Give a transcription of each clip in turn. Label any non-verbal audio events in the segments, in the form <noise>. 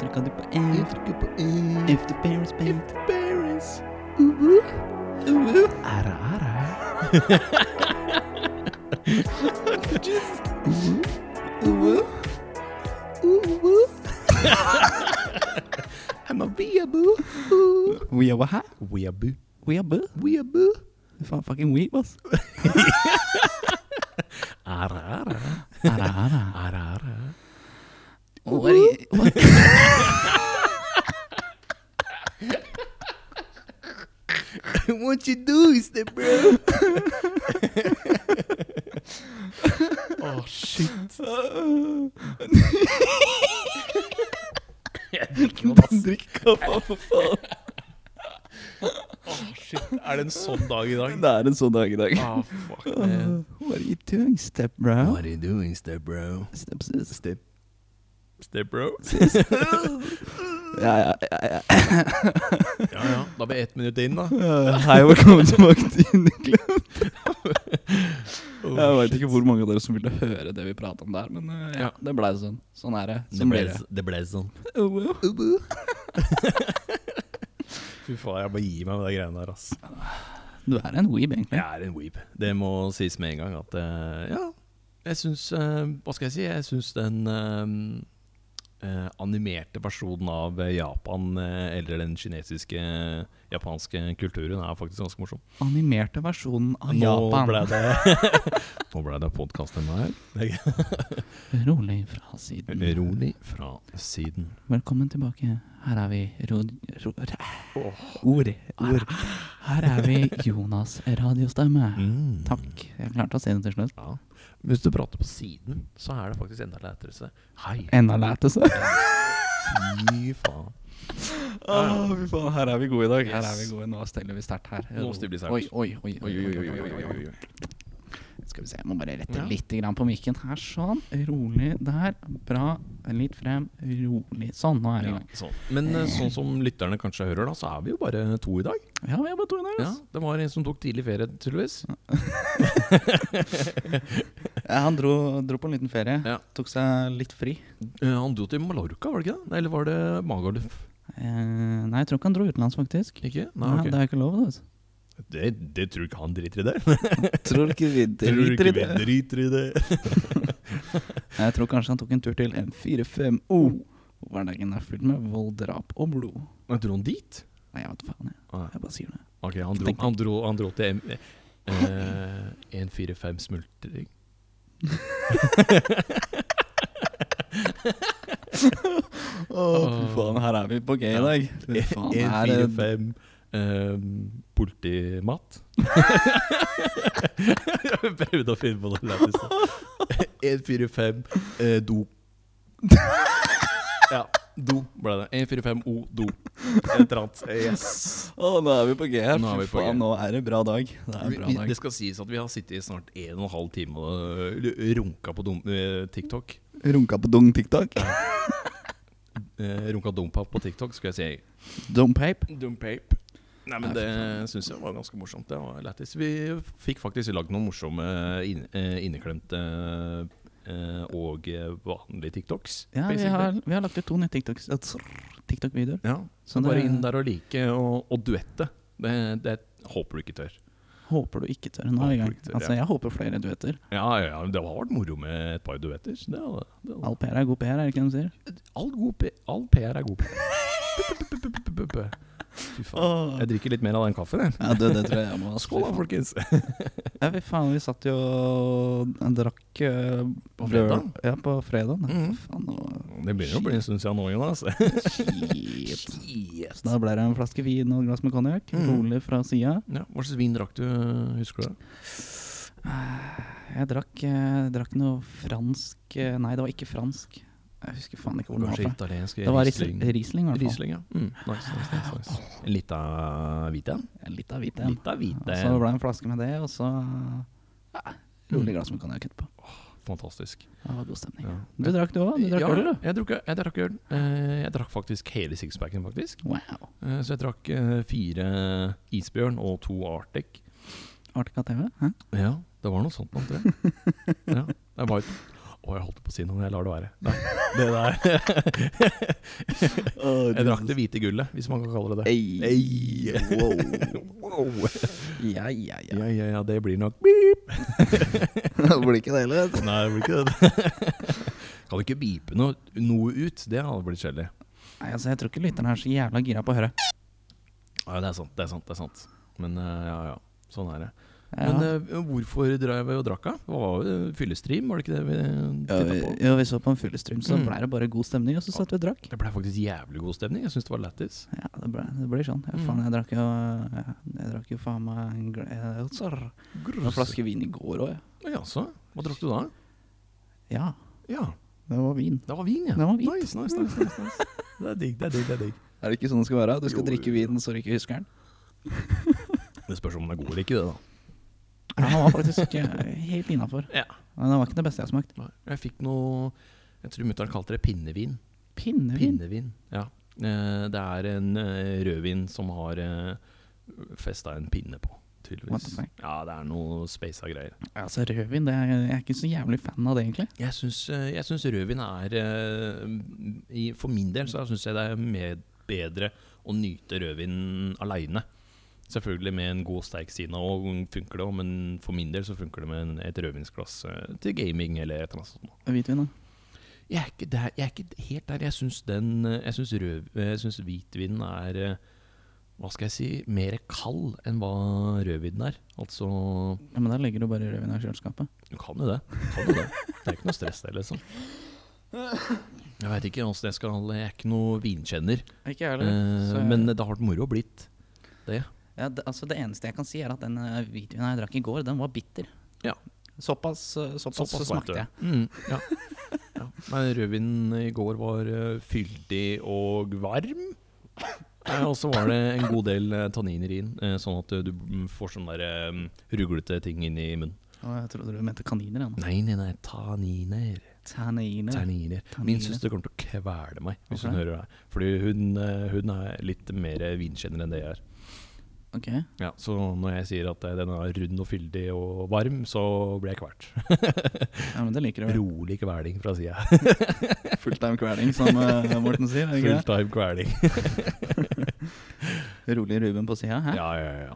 trykka du på F. trykker på E. If the parents pay. Paris. Æra, æra. I'm a weeaboo. We are what? Weeaboo. We are boo. Weeaboo. Faen, fucking weep, <laughs> ass. Æra, æra. Ara, ara. Æra, æra. What are you- what- What you do is that, bro? Åh, shit. Drikk kaffe, for faen. Shit, er det en sånn dag i dag? Det er en sånn dag i dag. Ah, fuck, man. What are you doing, step bro? are you doing, step bro? Step sis. Step. Step bro? Ja, ja, ja, <laughs> ja. Ja, ja. Da blir ett minutt inn, da. Eh, Hei, og velkommen tilbake til Inneklemt. Oh, Jeg vet ikke hvor mange av dere som ville høre det vi prata om der, men eh, ja, Ja. det blei sånn. Sånn er det. Det Sånn ble, blir det. det ble <laughs> sånn. Ubu. <laughs> Fy faen, jeg bare gir meg med de greiene der, ass. Du er en weeb, egentlig. Jeg er en weeb. Det må sies med en gang at eh, Ja, jeg syns eh, Hva skal jeg si? Jeg syns den eh, eh, animerte versjonen av Japan, eh, eller den kinesiske, eh, japanske kulturen, er faktisk ganske morsom. Animerte versjonen av Japan. Nå ble det, <laughs> nå ble det podkast denne her. Rolig fra siden. Rolig fra siden. Velkommen tilbake. Her er vi ro... ro ord. ord. Her er vi Jonas Radiostemme. Mm. Takk. Jeg klarte å si det til slutt. Ja. Hvis du prater på siden, så er det faktisk enda lettere. å si, Hei. Enda <laughs> lætelse. Fy faen. Å, fy faen. Her er vi gode i dag. Her er vi Yes. gode. Nå steller vi sterkt her. Nå steller vi sterkt. Oi, oi, oi. oi, Oi, oi, oi, oi, oi, oi, oi. Skal vi se, jeg må bare rette Ja. litt grann på mikken her. Sånn. Rolig der. Bra. Litt frem. Rolig. Sånn, nå er vi i Ja, gang. sånn. Men eh, sånn som lytterne kanskje hører, da, så er vi jo bare to i dag. Ja, vi har bare to i dag. Ja, ass. Det var en som tok tidlig ferie, tydeligvis. Ja, han dro, dro på en liten ferie. Ja. Tok seg litt fri. Eh, Han dro til Mallorca, var det ikke det? Nei, Eller var det Magaluf? Eh, nei, jeg tror ikke han dro utenlands, faktisk. Ikke? Nei, Nei, ok. Det er ikke lov, altså. <laughs> det. det, det tror ikke han driter i <laughs> det. Tror ikke <laughs> vi Tror ikke vi driter i det. Jeg tror kanskje han tok en tur til en 4-5-O. Hverdagen er full med vold, drap og blod. Men dro han dit? Nei, jeg vet faen, jeg. Nei. Jeg bare sier det. Ok, han dro, Tenk. han dro, han dro til M- eh, 145 smultring. Å, fy faen, her er vi på gøy Ja. i dag. E- Fy faen, her er <laughs> det 145 um, politimat. <laughs> Jeg prøvde å finne på noe <laughs> lættis. 145 eh, do. Ja, do ble det. 145 O, do. Et eller annet. Eh, Yes. Å, nå er vi på G her. Nå er Fy vi på G. faen, nå er det bra dag. Det er Vi, en bra vi, dag. det skal sies at vi har sittet i snart en og en halv time og øh, runka på dum, øh, TikTok. Runka på dung TikTok. Eh, runka dompap på TikTok, skulle jeg si. Dung pape. Dumpape. Nei, Nei, men fy Det syns jeg var ganske morsomt. Det var lættis. Vi fikk faktisk lagd noen morsomme inn- eh, inneklemte eh, og eh, vanlige TikToks. Ja, vi basically. har, vi har lagt ut to nye TikToks- TikTok-videoer. ja, Så Så bare det- inn der og like, og, og duette. Det, det håper du ikke tør. Håper du ikke tør. Nå er vi i gang. Håper du ikke tør, Altså, ja. jeg håper flere duetter. Ja, ja, ja, det har vært moro med et par duetter. Det, hadde- det, hadde- All PR er god PR, er det ikke det de sier? all, god, P- all PR er god PR. Fy faen. Jeg drikker litt mer av den kaffen, jeg. Ja, det, det tror jeg jeg må Skål da, folkens. Ja, vi faen, vi satt jo og drakk eh, På fredag? Ja, på fredag. Mhm. Faen, nå Det begynner å bli en stund siden nå, Jonas. Shit. <laughs> Så da ble det en flaske vin og et glass med konjakk. Mhm. Rolig fra sida. Ja, Hva slags vin drakk du, husker du det? Jeg drakk, eh, drakk noe fransk eh, Nei, det var ikke fransk. Jeg husker faen ikke hvor det var Kanskje fra. italiensk Det var Riesling. Riesling, Riesling i hvert fall. Riesling, ja. Mm. Nice, nice, nice, nice. En lita hvit en? Ja, Litt av hvit en. Litt av hvit Og så en. ble det en flaske med det, og så ja, rolig glass med konjakk etterpå. Fantastisk. Det var god stemning. Ja. Du drakk du òg? Du drakk ja, øl, du? Jeg drakk, jeg drakk øl. Eh, Jeg drakk faktisk hele sixpacken, faktisk. Wow. Eh, Så jeg drakk eh, fire isbjørn og to Arctic. Arctic TV? Hæ? <laughs> Ja, det var noe sånt, nå, tror jeg. Ja, det var et Å, jeg holdt på å si noe, men jeg lar det være. Nei, det der <laughs> Jeg drakk det hvite gullet, hvis man kan kalle det det. Ei. Ei. Wow. Wow. <laughs> Ja, ja, ja. <laughs> Ja, ja, ja, det blir <laughs> nok beep. det blir ikke det heller. Nei, det blir ikke det. <laughs> Kan du ikke beepe noe, noe ut? Det hadde blitt kjedelig. Nei, altså, jeg tror ikke lytterne er så jævla gira på å høre. Ja, det er sant, det er sant. det er sant Men eh, ja, ja. Sånn er det. Ja. Men eh, hvorfor drev vi og drakk, da? Det var jo fyllestream, var det ikke det vi ja, vi, titta på? ja, vi så på en fyllestream, så Mm. ble det bare god stemning, og så satt vi og drakk. Det ble faktisk jævlig god stemning. Jeg syns det var lættis. Ja, det, ble, det blir sånn. Ja, Mm. faen, jeg drakk jo ja, Jeg drakk jo faen meg en, gl- eh, sorr, en flaske vin i går òg, jeg. Jaså? Hva drakk du da? Ja. Ja, Det var vin. det var vin, ja. Det var hvit. Nice, nice, nice, nice, nice. <laughs> Det er digg, det er digg. Det er digg Er det ikke sånn det skal være? Du skal skal drikke drikke vin så du ikke husker den? Det spørs om den er god eller ikke, det, da. Ja, han var faktisk ikke helt innafor. Ja. Men det var ikke det beste jeg smakte. Nei, Jeg fikk noe Jeg tror mutter'n kalte det pinnevin. Pinnevin. Pinnevin, ja. Eh, Det er en eh, rødvin som har festa en pinne på, What the tydeligvis. fuck? Ja, det er noe speisa greier. Altså, rødvin, det er, jeg er ikke så jævlig fan av det, egentlig. Jeg syns, jeg syns rødvin er eh, i, For min del så syns jeg det er mer, bedre å nyte rødvin aleine. Selvfølgelig med en god sterk sina, og funker det også, men for min del så funker det med en- et rødvinsglass eh, til gaming eller et eller annet sånt. noe. Hvitvin, da. Jeg er ikke, der, jeg er ikke helt der. Jeg syns den eh, Jeg syns rød- eh, jeg syns hvitvinen er eh, Hva skal jeg si Mer kald enn hva rødvinen er. Altså Ja, men da legger du bare rødvin i kjøleskapet. Du kan jo det. Du kan jo det. det er ikke noe stress, det, liksom. Jeg veit ikke åssen jeg skal Jeg er ikke noe vinkjenner. Ikke jeg eh, men det har vært moro blitt. ja, det, altså, det eneste jeg kan si, er at den eh, hvitvinen jeg drakk i går, den var bitter. Ja. Såpass, eh, såpass, vet du. smakte jeg. Mm, <laughs> ja. ja. Men rødvinen i går var eh, fyldig og varm. <laughs> Eh, Og så var det en god del eh, tanniner i den, eh, sånn at eh, du mm, får sånne der, eh, ruglete ting inn i munnen. Å, jeg trodde du mente kaniner. Ja. Nei, nei, nei, tanniner. Tanniner. Terningere. Terningere. Min søster kommer til å kvele meg hvis hun Hvorfor hører det her. Fordi hun, eh, hun er litt mer vinkjenner enn det jeg er. Ok. Ja, så når jeg sier at eh, den er rund og fyldig og varm, så blir jeg kvalt. <laughs> Ja, men det liker du. Rolig kveling fra sida. <laughs> Fulltime kveling, som eh, Morten sier. er det Ikke? Fulltime kveling. det? Rolig Ruben på sida. Hæ? Ja, ja, ja.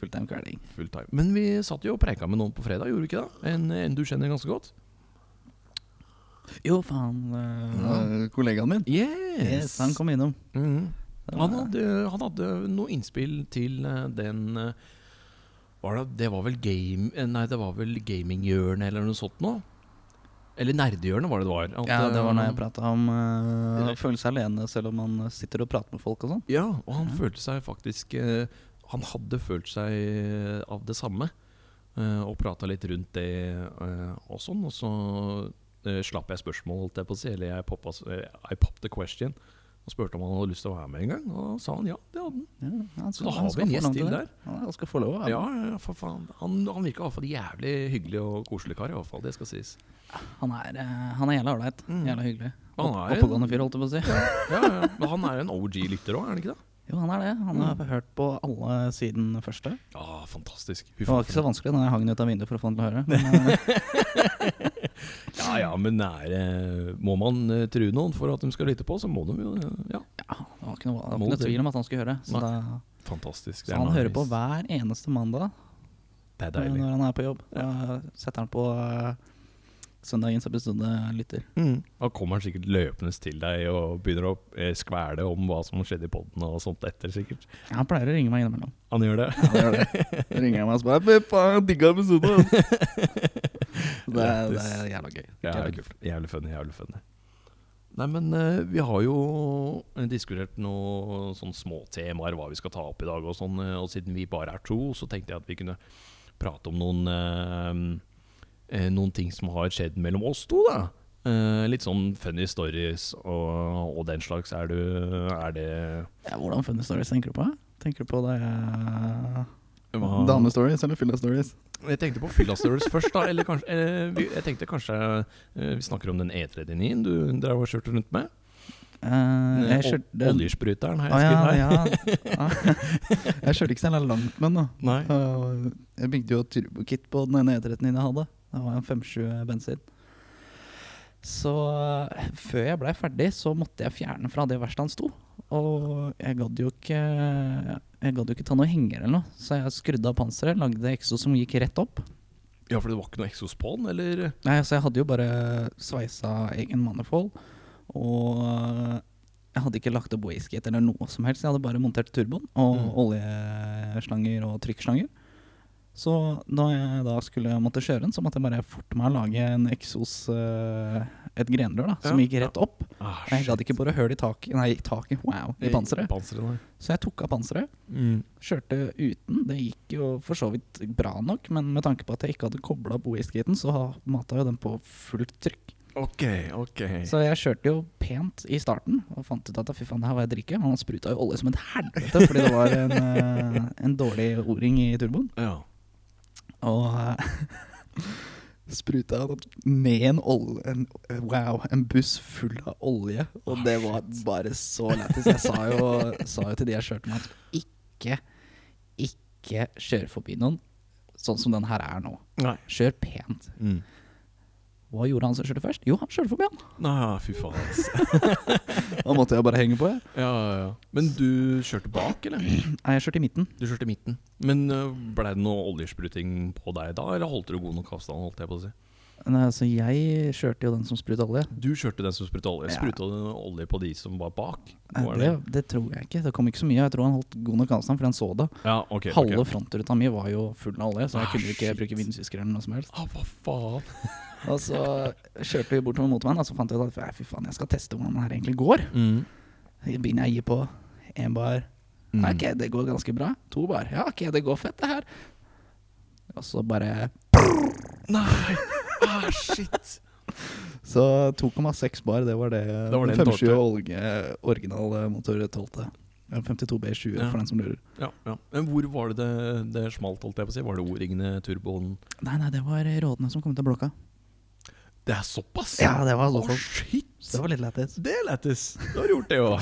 Fulltime kveling. Fulltime. Men vi satt jo og preika med noen på fredag, gjorde vi ikke det? En, en du kjenner ganske godt? Jo, faen. eh, kollegaen min. Yes, han kom innom. Mhm. Det Han var- hadde, han hadde noe innspill til eh, den eh, var det, det var vel game eh, Nei, det var vel gaminghjørnet eller noe sånt nå Eller nerdehjørnet var det det var. At, Ja, det var når eh, jeg prata om eh, Nei. å føle seg alene selv om man sitter og prater med folk og sånn. Ja, og han Ja. følte seg faktisk eh, Han hadde følt seg eh, av det samme. eh, Og prata litt rundt det eh, og sånn. Og så eh, slapp jeg spørsmål, holdt jeg på å si. Eller jeg poppa, s- eh, I popped the question. Og spurte om han hadde lyst til å være med en gang. Og da sa han ja, det hadde han. Ja, han Så da han har vi en få gjest lov til til det. der. Ja, Han skal få lov. Ja, Han. ja, ja, for faen. Han, han virka iallfall jævlig hyggelig og koselig kar, i hvert fall, Det skal <laughs> sies. Han, er, eh, han er jævla ålreit. Mm. Jævla hyggelig. Han Opp- er en- Oppegående fyr, holdt jeg på å si. Ja, ja. Men han er jo en OG-lytter òg, er han ikke det? Jo, han er det. Han Mm. har hørt på alle siden første. Ja, fantastisk. Fy Det var faen, ikke for så vanskelig når jeg hang den ut av vinduet for å få den til å høre. <laughs> Men, eh, en- Ja, ja, men det er, eh, må man eh, true noen for at de skal lytte på, så må de jo eh, Ja, ja, det var ikke noe, det var ikke noe tvil om at han skulle høre. Så, Nei. da, fantastisk. så Det er han nice. hører på hver eneste mandag Det er eh, deilig. når han er på jobb. Da setter han på eh, søndagens episode lytter. Mm. Da kommer han sikkert løpende til deg og begynner å eh, skvæle om hva som skjedde i poden og sånt etter, sikkert. Han pleier å ringe meg innimellom. Han gjør det. Ja, det gjør det. Da ringer jeg meg og spør Fy faen, digga episode! ass!» <laughs> Det, er- det er jævla gøy. Ja, Jævla jævlig, jævlig funny, jævlig funny. Nei, men eh, vi har jo diskutert noen sånne små temaer, hva vi skal ta opp i dag og sånn. eh, og siden vi bare er to, så tenkte jeg at vi kunne prate om noen eh, eh, Noen ting som har skjedd mellom oss to, da. Eh, litt sånn funny stories og, og den slags. Er du Er det Ja, hvordan funny stories tenker du på? Tenker du på det eh, Hva- Damestories eller fylla-stories? Jeg tenkte på fylla stories først, da. Eller kanskje eh, vi, Jeg tenkte kanskje eh, vi snakker om den E39-en du drev og kjørte rundt med. Eh, jeg Eh, kjørte ol- Oljespruteren har Å jeg ja, skrevet her. ja. ja. <laughs> Jeg kjørte ikke så jævla langt med den. da. <laughs> Nei. Eh, Jeg bygde jo turbokit på den ene E39 jeg hadde. Det var en 520 bensin. Så eh, før jeg blei ferdig, så måtte jeg fjerne fra det verkstedet han sto. Og jeg gadd jo ikke Jeg gadd jo ikke ta noe henger eller noe, så jeg skrudde av panseret, lagde eksos som gikk rett opp. Ja, for det var ikke noe eksos på den, eller? Nei, altså jeg hadde jo bare sveisa egen manifold, og eh, jeg hadde ikke lagt opp wastegate eller noe som helst. Jeg hadde bare montert turboen og Mm. oljeslanger og trykkslanger. Så da jeg da skulle måtte kjøre den, så måtte jeg bare forte meg å lage en eksos eh, Et grenrør da, som Ja. gikk rett opp. Ah, Og jeg gadd ikke bare høl i taket, nei, i taket, wow, i panseret. Mm. nei. Så jeg tok av panseret. Kjørte uten. Det gikk jo for så vidt bra nok, men med tanke på at jeg ikke hadde kobla opp OS-gaten, så mata jo den på fullt trykk. Ok, ok. Så jeg kjørte jo pent i starten og fant ut at fy faen, det her var jeg drikke. Han spruta jo olje som et helvete fordi det var en, <laughs> eh, en dårlig o-ring i turboen. Ja. Og eh, <laughs> spruta ned en olje en, Wow, en buss full av olje. Og det var bare så lættis. Jeg sa jo, <laughs> sa jo til de jeg kjørte med at ikke, ikke kjør forbi noen sånn som den her er nå. Nei. Kjør pent. Mm. Hva gjorde han som kjørte først? Jo, han kjørte forbi han. Nei, fy faen. ass. Da måtte jeg bare henge på. Jeg, Ja, ja, ja. Men du kjørte bak, eller? Nei, jeg kjørte i midten. Du kjørte i midten. Men øh, ble det noe oljespruting på deg da, eller holdt du god nok avstand? holdt jeg på å si? Nei, altså, jeg kjørte jo den som spruta olje. Du kjørte den som spruta olje. Ja. Spruta du noe olje på de som var bak? Nei, Var det, det tror jeg ikke. Det kom ikke så mye. Jeg tror han holdt god nok avstand fordi han så det. Ja, ok. ok. Halve frontruta mi var jo full av olje, så jeg Ah, kunne jo ikke shit. bruke vindsysker eller noe som helst. Ah, hva faen? Og så kjørte vi bortover motorveien, og så fant jeg ut at «Nei, fy faen, jeg skal teste hvordan det her egentlig går. Begynner jeg å gi på én bar. Mm. «Nei, Ok, det går ganske bra. To bar. Ja, ok, det går fett, det her. Og så bare Nei! Ah, shit! Så 2,6 bar, det var det. Da var det en den 520 tolvte. olje, original eh, motor 12. Ja, 52B20 Ja. for den som lurer. Ja, ja. Men hvor var det det, det smalt, holdt jeg på å si? Var det O-ringene, turboen? Nei, nei, det var rådene som kom til blokka. Det er såpass? Ja, det var Å, sånn. shit! Så det var litt lættis. Det er lættis! Du har gjort det, jo.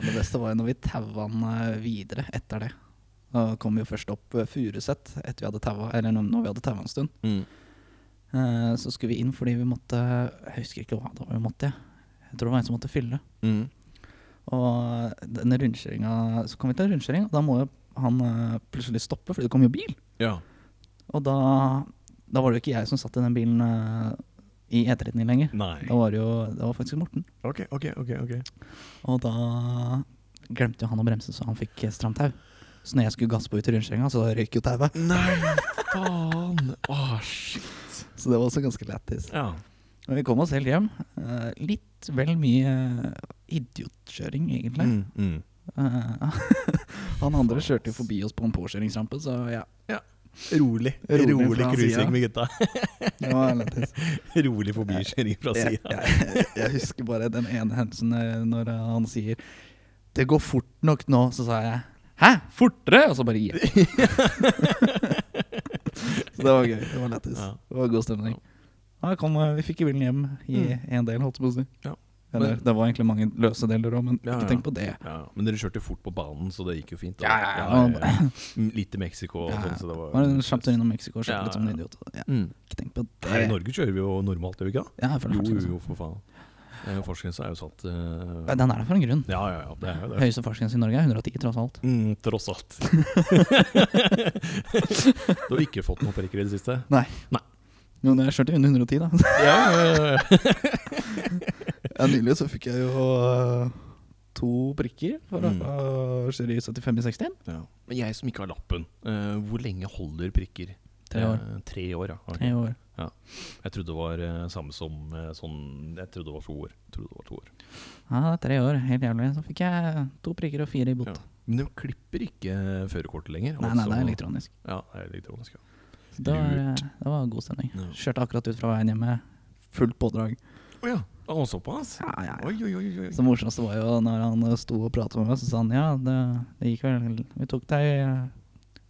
Det beste var jo når vi taua den eh, videre etter det. Da kom vi jo først opp eh, Furuset etter vi hadde taua, eller når- når vi hadde taua en stund. Mm. Eh, Så skulle vi inn fordi vi måtte Jeg husker ikke hva det var vi måtte. jeg. Jeg tror det var en som måtte fylle. Mm. Og denne rundkjøringa Så kom vi til en rundkjøring, og da må jo han eh, plutselig stoppe, fordi det kom jo bil. Ja. Og da, da var det jo ikke jeg som satt i den bilen eh, i E39 lenger. Nei. Da var det jo det var faktisk Morten. Ok, ok, ok. ok. Og da glemte jo han å bremse, så han fikk eh, stramt tau. Så når jeg skulle gasse på ut i rundkjøringa, så røyk jo tauet. <laughs> Nei, faen! Åh, shit. Så det var også ganske lættis. Ja. Og vi kom oss helt hjem. Eh, litt vel mye eh, idiotkjøring, egentlig. Mm, mm. Eh, <laughs> han andre kjørte jo forbi oss på en påkjøringsrampe, så <laughs> ja. Rolig. Rolig Rolig, fra siden. cruising med gutta. <laughs> Det var lættis. Rolig forbikjøring fra Jeg, sida. jeg, jeg husker bare den ene hendelsen eh, når eh, han sier 'Det går fort nok nå', så sa jeg 'Hæ? Fortere?' Og så bare gir jeg. så det var gøy. Det var lættis. Ja. Det var god stemning. Ja, kom, eh, vi fikk i bilen hjem i en del, holdt jeg på å si. Mm. Ja. Eller, Men- det var egentlig mange løse deler òg, men Ja, ikke ja. tenk på det. <laughs> Ja, men dere kjørte fort på banen, så det gikk jo fint. da. Ja, ja, ja. Mm, Litt til Mexico og Ja, sånn, så det Det var var en kjapp tur innom Mexico og kjørte Ja, litt som en ja. idiot. Ja, Mm. ikke tenk på det. Her i Norge kjører vi jo normalt, gjør vi ikke det? Ja, jeg føler Jo, faktisk jo, det. jo, for faen. Eh, Fartsgrensa er jo satt eh, Ja, Den er der for en grunn. Ja, ja, ja. Det er jo det. Høyeste fartsgrense i Norge er 110, tross alt. Mm, tross alt. <laughs> du har ikke fått noen prikker i det siste? Jo, når jeg kjørte under 110, <laughs> da. Ja, ja, <laughs> ja. Ja, Nylig så fikk jeg jo øh, to prikker for å Mm. øh, kjøre i 75 i 60. Ja. Men jeg som ikke har lappen, eh, hvor lenge holder prikker? Tre år. Eh, tre år, ja. Ok. Tre år. Jeg trodde det var eh, samme som eh, sånn Jeg trodde det var to år. Jeg trodde det var to år. Ja, det er tre år. Helt jævlig. Så fikk jeg to prikker og fire i bot. Ja. Men de klipper ikke eh, førerkortet lenger. Nei, nei, altså- det er elektronisk. Ja, det er elektronisk. Ja. Så det var, øh, det var god stemning. Ja. Kjørte akkurat ut fra veien hjemme. Fullt pådrag. Å ja. Å, såpass? Ja, ja, ja. Oi, oi, oi. oi. Så morsomste var jo når han eh, sto og pratet med meg, så sa han ja, det, det gikk vel Vi tok deg eh,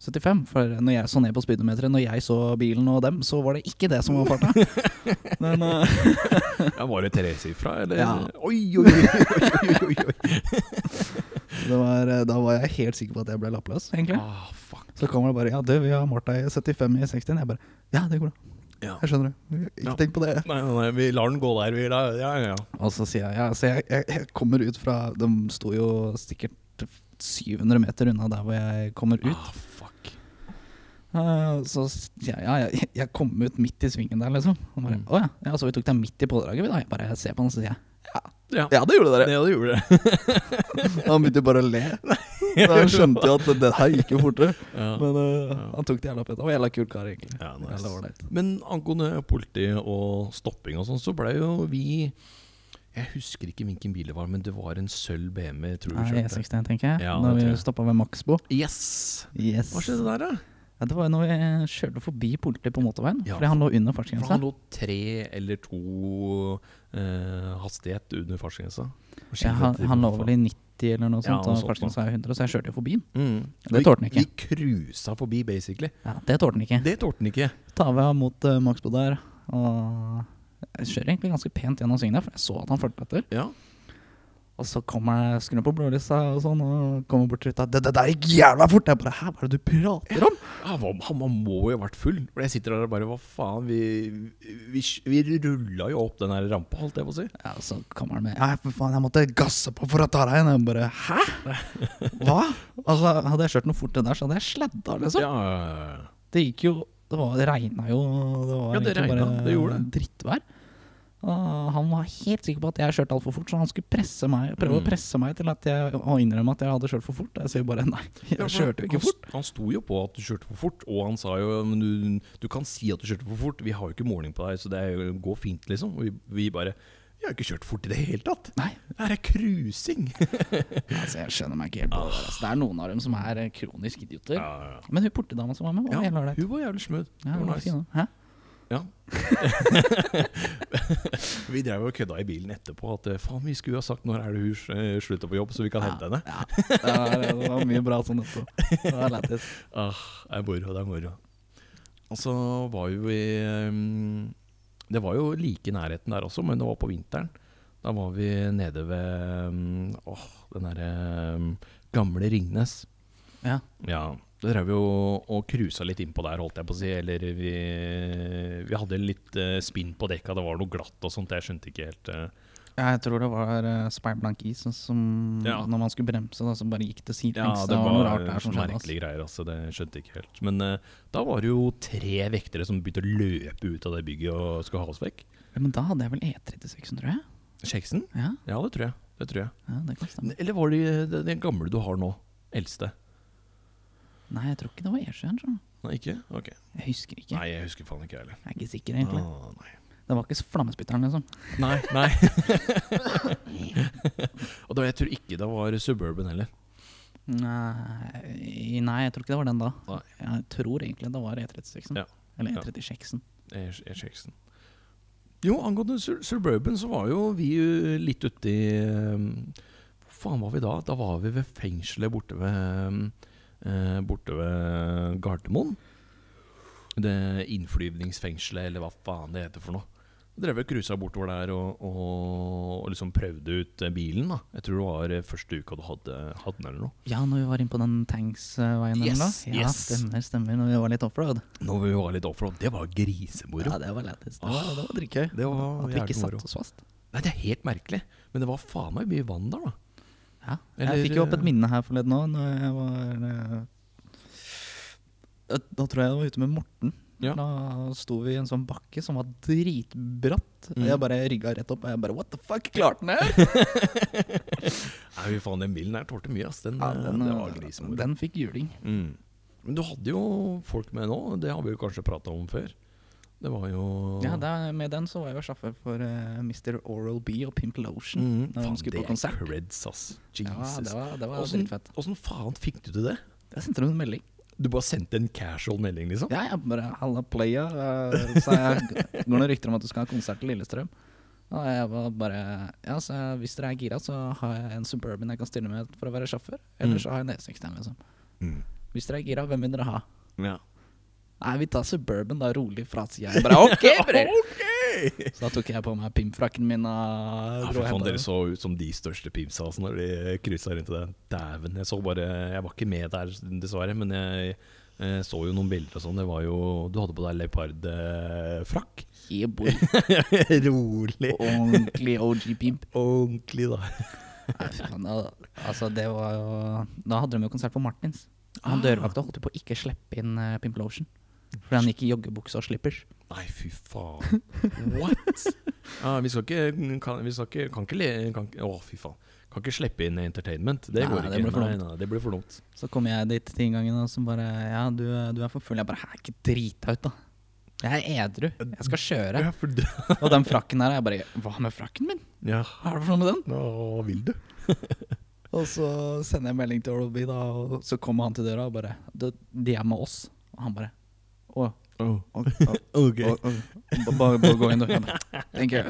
75, for når jeg så ned på speedometeret, når jeg så bilen og dem, så var det ikke det som var <laughs> farta. Men eh, Ja, var det tresifra, eller? <laughs> Ja. Oi, oi, oi, oi, oi, <laughs> oi, oi. det var, eh, da var jeg helt sikker på at jeg ble lappløs, egentlig. Ah, fuck. Så kommer det bare ja, du, vi har målt deg i 75 i 60. Jeg bare ja, det går bra. Ja. Jeg skjønner det. Ikke Ja. tenk på det. Nei, nei, nei, vi lar den gå der, vi. Da. Ja, ja, ja. Og så sier jeg ja, så jeg, jeg, jeg kommer ut fra De sto jo sikkert 700 meter unna der hvor jeg kommer ut. Ah, fuck. Eh, Så sier jeg ja, jeg, jeg kom ut midt i svingen der, liksom. Og bare, Mm. Å ja. ja, så vi tok deg midt i pådraget, vi da. Jeg bare ser på han og så sier jeg Ja, ja, det gjorde <laughs> det det gjorde det. Han begynte bare å <laughs> le. <laughs> Da skjønte jeg at det her gikk jo fortere. Ja. Men eh, Ja. han tok det jævla pent. Han var en jævla kul kar, egentlig. Ja, nice. Jævla ålreit. Men angående politi og stopping og sånn, så ble jo vi Jeg husker ikke hvilken bil det var, men det var en sølv BMW, tror du Nei, kjørte. E61, tenker jeg. Ja, det når tror vi jeg. stoppa ved Maxbo. Yes! Yes. Hva skjedde der, da? Ja, det var jo når vi kjørte forbi politiet på motorveien, Ja, fordi han lå under For fartsgrensa. han lå tre eller to eh, hastighet under fartsgrensa. Og Ja, han, kilometer i han lå buffer. vel i 90 eller noe Ja, sånt, noe og sånt fartsgrensa er 100, så jeg kjørte jo forbi den. Mm. Det tålte han ikke. Vi cruisa forbi, basically. Ja, det tålte han ikke. Det tålte han ikke. Tar vi av mot uh, Maxbo der, og jeg kjører egentlig ganske pent gjennom svingen der, for jeg så at han fulgte etter. Ja. Og så kommer jeg, skrur han på blålysa og sånn, og kommer bort til ruta. Det, det der gikk jævla fort! Jeg bare Hæ, hva er det du prater om? Han, var, Ah, han han må jo ha vært full. For jeg sitter der og bare Hva faen? Vi, vi, vi rulla jo opp den her rampa, holdt jeg på å si. Ja, og så kommer han med Ja, for faen, jeg måtte gasse på for å ta deg igjen. Jeg bare Hæ? <laughs> Hva? Altså, hadde jeg kjørt noe fort det der, så hadde jeg sladda, liksom. Ja, ja, ja. Det gikk jo Det, var, det regna jo Det var Ja, det egentlig regna, bare det gjorde det. drittvær. Og han var helt sikker på at jeg kjørte altfor fort, så han skulle presse meg prøve Mm. å presse meg til at jeg, å innrømme at jeg hadde kjørt for fort. Jeg sier bare nei, jeg Ja, for kjørte jo ikke han, fort. Han sto jo på at du kjørte for fort, og han sa jo Men du, du kan si at du kjørte for fort, vi har jo ikke måling på deg, så det er jo, går fint, liksom. Og vi, vi bare Vi har jo ikke kjørt fort i det hele tatt. Nei, Det her er cruising. altså jeg skjønner meg ikke helt på det der. Altså, det er noen av dem som er eh, kronisk idioter. Ja, ja. Men hun portedama som var med, Ja, var helt ålreit. hun var jævlig smooth. Ja, hun hun var var nice. fin, hun. Hæ? Ja. vi drev og kødda i bilen etterpå at eh, faen, vi skulle jo ha sagt når er det hun eh, slutter på jobb, så vi kan hente henne. Ja, det, var, det var mye bra sånn etterpå. Det var lættis. Ah, det er moro, det er moro. Og så var jo vi ehm, Det var jo like i nærheten der også, men det var på vinteren. Da var vi nede ved ehm, åh, den derre ehm, gamle Ringnes. Ja. Ja, det drev vi jo og cruisa litt innpå der, holdt jeg på å si. Eller vi, vi hadde litt eh, spinn på dekka, det var noe glatt og sånt. Jeg skjønte ikke helt eh. Jeg tror det var uh, speilblank is som- som Ja. Når man skulle bremse, da, så bare gikk det Ja, sidelengs. det var noe var rart der som skjedde. ass. merkelige greier, altså. Det skjønte jeg ikke helt. Men eh, da var det jo tre vektere som begynte å løpe ut av det bygget og skulle ha oss vekk. Ja, men da hadde jeg vel E36, tror jeg. Kjeksen? Ja, Ja, det tror jeg. Det tror jeg. ja det kan stemme. Eller var det den- den gamle du har nå? Eldste? Nei, jeg tror ikke det var E7. tror jeg. Nei, ikke? Ok. Jeg husker ikke. Nei, jeg husker faen ikke jeg heller. Jeg er ikke sikker, egentlig. Ah, nei. Det var ikke flammespytteren, liksom. Nei, nei. <laughs> Og da, jeg tror ikke det var Suburban heller. <laughs> Nei, nei, jeg tror ikke det var den da. Nei. Jeg tror egentlig det var E E36. Ja. Eller E Ja. E36. Eh, Sh- eh, Shakesen. Jo, angående Sur Suburban, så var jo vi eh, litt uti eh, Hvor faen var vi da? Da var vi ved fengselet borte ved, eh, borte ved Gardermoen. Det innflyvningsfengselet, eller hva faen det heter for noe. Vi Drev og cruisa bortover der og, og, og liksom prøvde ut eh, bilen. da Jeg tror det var eh, første uka du hadde, hadde den eller noe. Ja, når vi var inne på den tanks-veien eller Yes, noe. Ja, yes. stemmer, stemmer. Når vi var litt offroad. Når vi var litt offroad, det var grisemoro. Ja, det var lættis. Det var, det var drikkøy. Det var At vi jævlig ikke moro. satte oss fast. Nei, det er helt merkelig. Men det var faen meg mye vann der, da. Ja. Eller, jeg fikk jo opp eh, et minne her forleden òg, når jeg var eh, Da tror jeg jeg var ute med Morten. Ja. Da sto vi i en sånn bakke som var dritbratt. Og Mm. Jeg bare rygga rett opp, og jeg bare What the fuck, klarte den her? Nei, fy faen, den bilen her tålte mye, ass. Den, Ja, den, det var grisemoro. den eh, fikk juling. Mm. Men du hadde jo folk med nå, det har vi jo kanskje prata om før. Det var jo Ja, der, Med den så var jeg jo sjåfør for eh, Mr. Oral B og Pimp Lotion. mm. når de Faen, skulle det på konsert. er creds, ass. Ja, Jesus. det var, det var Åssen dritfett. åssen faen fikk du til det? Jeg sendte dem en melding. Du bare sendte en casual melding, liksom? Ja, jeg bare Halla, playa. eh, Så <laughs> jeg går noen rykter om at du skal ha konsert til Lillestrøm. Og jeg var bare Ja, så jeg, hvis dere er gira, så har jeg en Suburban jeg kan stille med for å være sjåfør. Eller Mm. så har jeg en E16, liksom. Mm. Hvis dere er gira, hvem vil dere ha? Ja. <laughs> Nei, vi tar Suburban da, rolig fra sida. Jeg bare OK, bror! Ok! Hey! Så da tok jeg på meg pimpfrakken min og Ja, dro for og faen, hentet dere den. så ut som de største pimsa altså, når de kryssa rundt i det. Dæven. Jeg så bare Jeg var ikke med der, dessverre, men jeg, eh, så jo noen bilder og sånn. Det var jo Du hadde på deg leopardfrakk. <laughs> Yeah, boy. Rolig. Ordentlig OG-pimp. Ordentlig, da. Altså, det var jo Da hadde de jo konsert på Martins. Ah. Han dørvakta holdt jo på å ikke slippe inn eh, Pimplotion. Fordi han gikk i joggebukse og slippers. Nei, fy faen. What?! Ja, vi skal ikke Kan, vi skal ikke, kan ikke le kan, ikke- Å, fy faen. Kan ikke slippe inn entertainment. Det Nei, går det ikke. blir for nei, dumt. nei, det blir for dumt. Så kom jeg dit ti ganger og så bare Ja, du, du er for full. Jeg bare Hæ, ikke drita ut, da. Jeg er edru. Jeg skal kjøre. Ja, for du Og den frakken her, jeg bare Hva med frakken min? Ja, Hva er det for noe med den? hva vil du? Og så sender jeg melding til Orlby, da, og så kommer han til døra og bare «Du, De er med oss. Og han bare Å, Oh, å, å, <laughs> ok. å, å. Ba- Bare bare gå inn, du. Jeg bare, Thank you.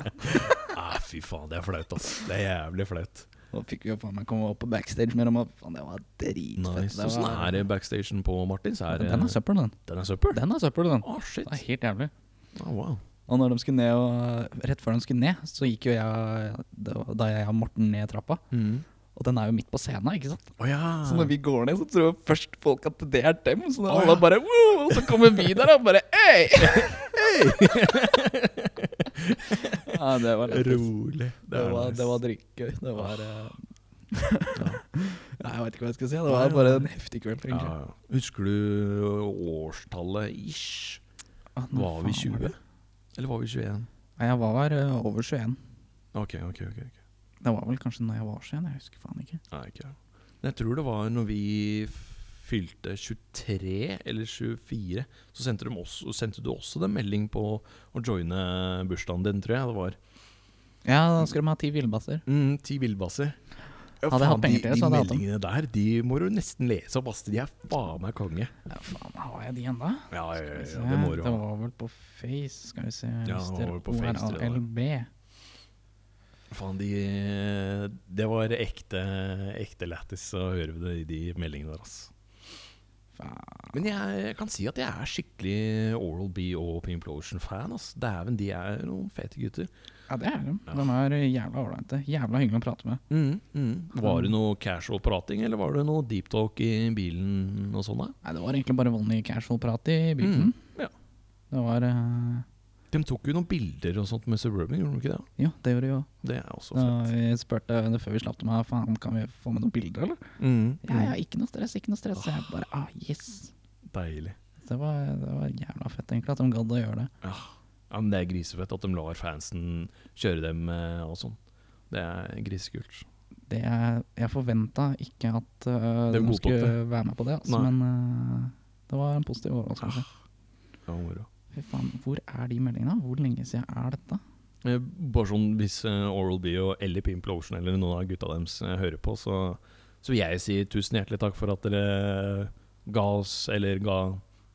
Ah, fy faen, det er flaut, ass. Det er jævlig flaut. Da fikk vi jo faen meg komme opp på backstage med dem. og Faen, det var dritfett. Nice. Det Åssen var, er det backstagen på Martins? Er, den er søppel, den. den er søppel? Den er søppel, den. Ah, shit. Det er helt jævlig. Ah, wow. Og når de skulle ned, og rett før de skulle ned, så gikk jo jeg det var da jeg og Morten ned trappa. Og den er jo midt på scenen, ikke sant? Å ja. Mm. Så <laughs> når vi går ned, så tror først folk at det er dem. Så Å, alle Ah. ja. bare wow, Og så kommer vi der og bare <laughs> hei! ja, det var lættis. Rolig. Det var, det var dritgøy. Det var eh, Ah. <laughs> Nei, jeg vet ikke hva jeg skal si. Det var bare en heftig kveld. ja, egentlig. ja. Husker du årstallet ish? Ah, nå Var vi faen 20? var det? Eller var vi 21? Nei, jeg var eh, over 21. Ok, ok, ok. ok. Det var vel kanskje når jeg var 21, jeg husker faen ikke. Nei, ikke jeg. Men Jeg tror det var når vi f- fylte 23 eller 24, så sendte, de også, sendte du også den melding på å joine bursdagen din, tror jeg det var. Ja, da skal de ha ti villbasser. Mm, ti villbasser. Hadde jeg hatt penger til det, så hadde jeg de, de hatt dem. meldingene der de må du nesten lese opp, ass. De er faen meg konge. Ja, faen, har jeg de ennå? Ja, Skal ja, ja, vi se ja, det må her. du det ha. var vel på Face, skal vi se. det var Mister vel på Face, tror jeg det var. ORLB. Faen, de Det var ekte, ekte lættis å høre det i de meldingene der, ass. Faen. Men jeg, jeg kan si at jeg er skikkelig Oral B og Pimplotion-fan, ass. Dæven, de er noen fete gutter. Ja, det er de. Ja. De er eh, jævla ålreite. Jævla hyggelig å prate med. Mm, Var det noe casual prating, eller var det noe deep talk i bilen og sånn, da? Nei, det var egentlig bare vanlig casual-prat i bilen. Mm, ja. Det var eh, De tok jo noen bilder og sånt med Suburban, gjorde de ikke det? Ja, det gjorde vi òg. Det er også Da fett. vi spurte henne før vi slapp dem av faen, kan vi få med noen bilder, eller? Mm, Ja, ja, mm. ikke noe stress, ikke noe stress. Jeg bare ah, yes. Deilig. Det var, det var jævla fett, egentlig, at de gadd å gjøre det. Ja. ja, men det er grisefett at de lar fansen kjøre dem eh, og sånn. Det er grisekult. det jeg, jeg forventa ikke at øh, de Det godtok skulle være med på det, altså, Nei. Ah. men øh, det var en positiv overraskelse. Det var moro. Fy faen, hvor er de meldingene? Hvor lenge siden er dette? Eh, Bare sånn hvis eh, Oral B og eller Pimplotion eller noen av gutta deres eh, hører på, så, så vil jeg si tusen hjertelig takk for at dere eh, ga oss, eller ga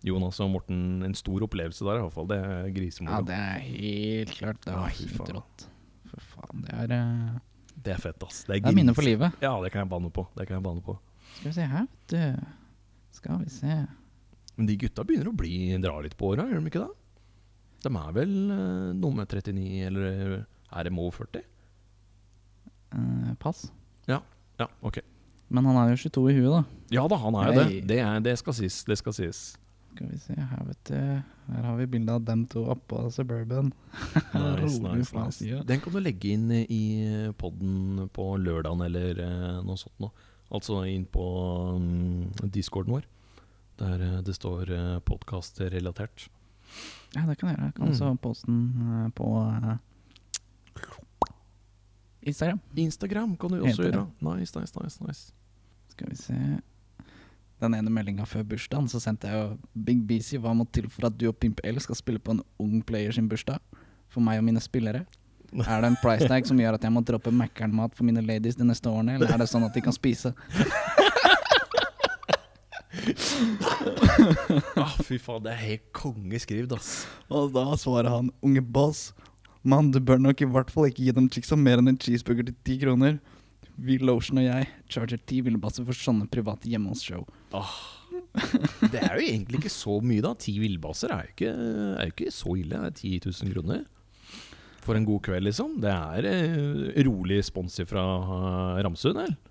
Jonas og Morten en stor opplevelse der, i hvert fall. Det er Ja, grisemoro. det er helt klart. Det var Ja, fy helt faen. rått. Fy faen, det er, øh, det, er fett, ass. Det er, det er minner for grise- livet. Ja, det kan jeg banne på. Det kan jeg banne på. Skal vi se her, vet du. Skal vi se. Men de gutta begynner å bli dra litt på åra, gjør de ikke det? De er vel eh, noe med 39, eller eh, er de over 40? Øh, pass. Ja, ok. Men han er jo 22 i huet, da. Ja da, han er jo det. Nei. Det, er, det skal sies. Det skal sies. <laughs> Skal vi se her, vet du. Her har vi bilde av dem to oppå Suburban. <laughs> Nice, Rolig nice, faen, nice. sier jeg. Den kan du legge inn i poden på lørdagen eller eh, noe sånt nå. Altså inn på mm, discorden vår, der eh, det står eh, podkast-relatert. Ja, det kan jeg gjøre. Jeg kan også Mm. poste den eh, på eh, Instagram. Instagram kan du Helt også enig. gjøre. Nice, nice, nice. nice. Skal vi se Den ene meldinga før bursdagen så sendte jeg jo Big BC hva må til for at du og Pimp L skal spille på en ung player sin bursdag? For meg og mine spillere? Er det en price tag som gjør at jeg må droppe Mækkern-mat for mine ladies de neste årene, eller er det sånn at de kan spise? <laughs> Ah, fy faen, det er helt kongeskrivet, ass. Og da svarer han, unge boss, mann, du bør nok i hvert fall ikke gi dem chicksa mer enn en cheeseburger til ti kroner. Vi, Lotion og jeg, charger ti villebasser for sånne private hjemmehos-show. Det er jo egentlig ikke så mye, da. Ti villbasser er jo ikke, er jo ikke så ille. Det er 10 000 kroner. for en god kveld, liksom. Det er eh, rolig spons fra eh, Ramsund, eller?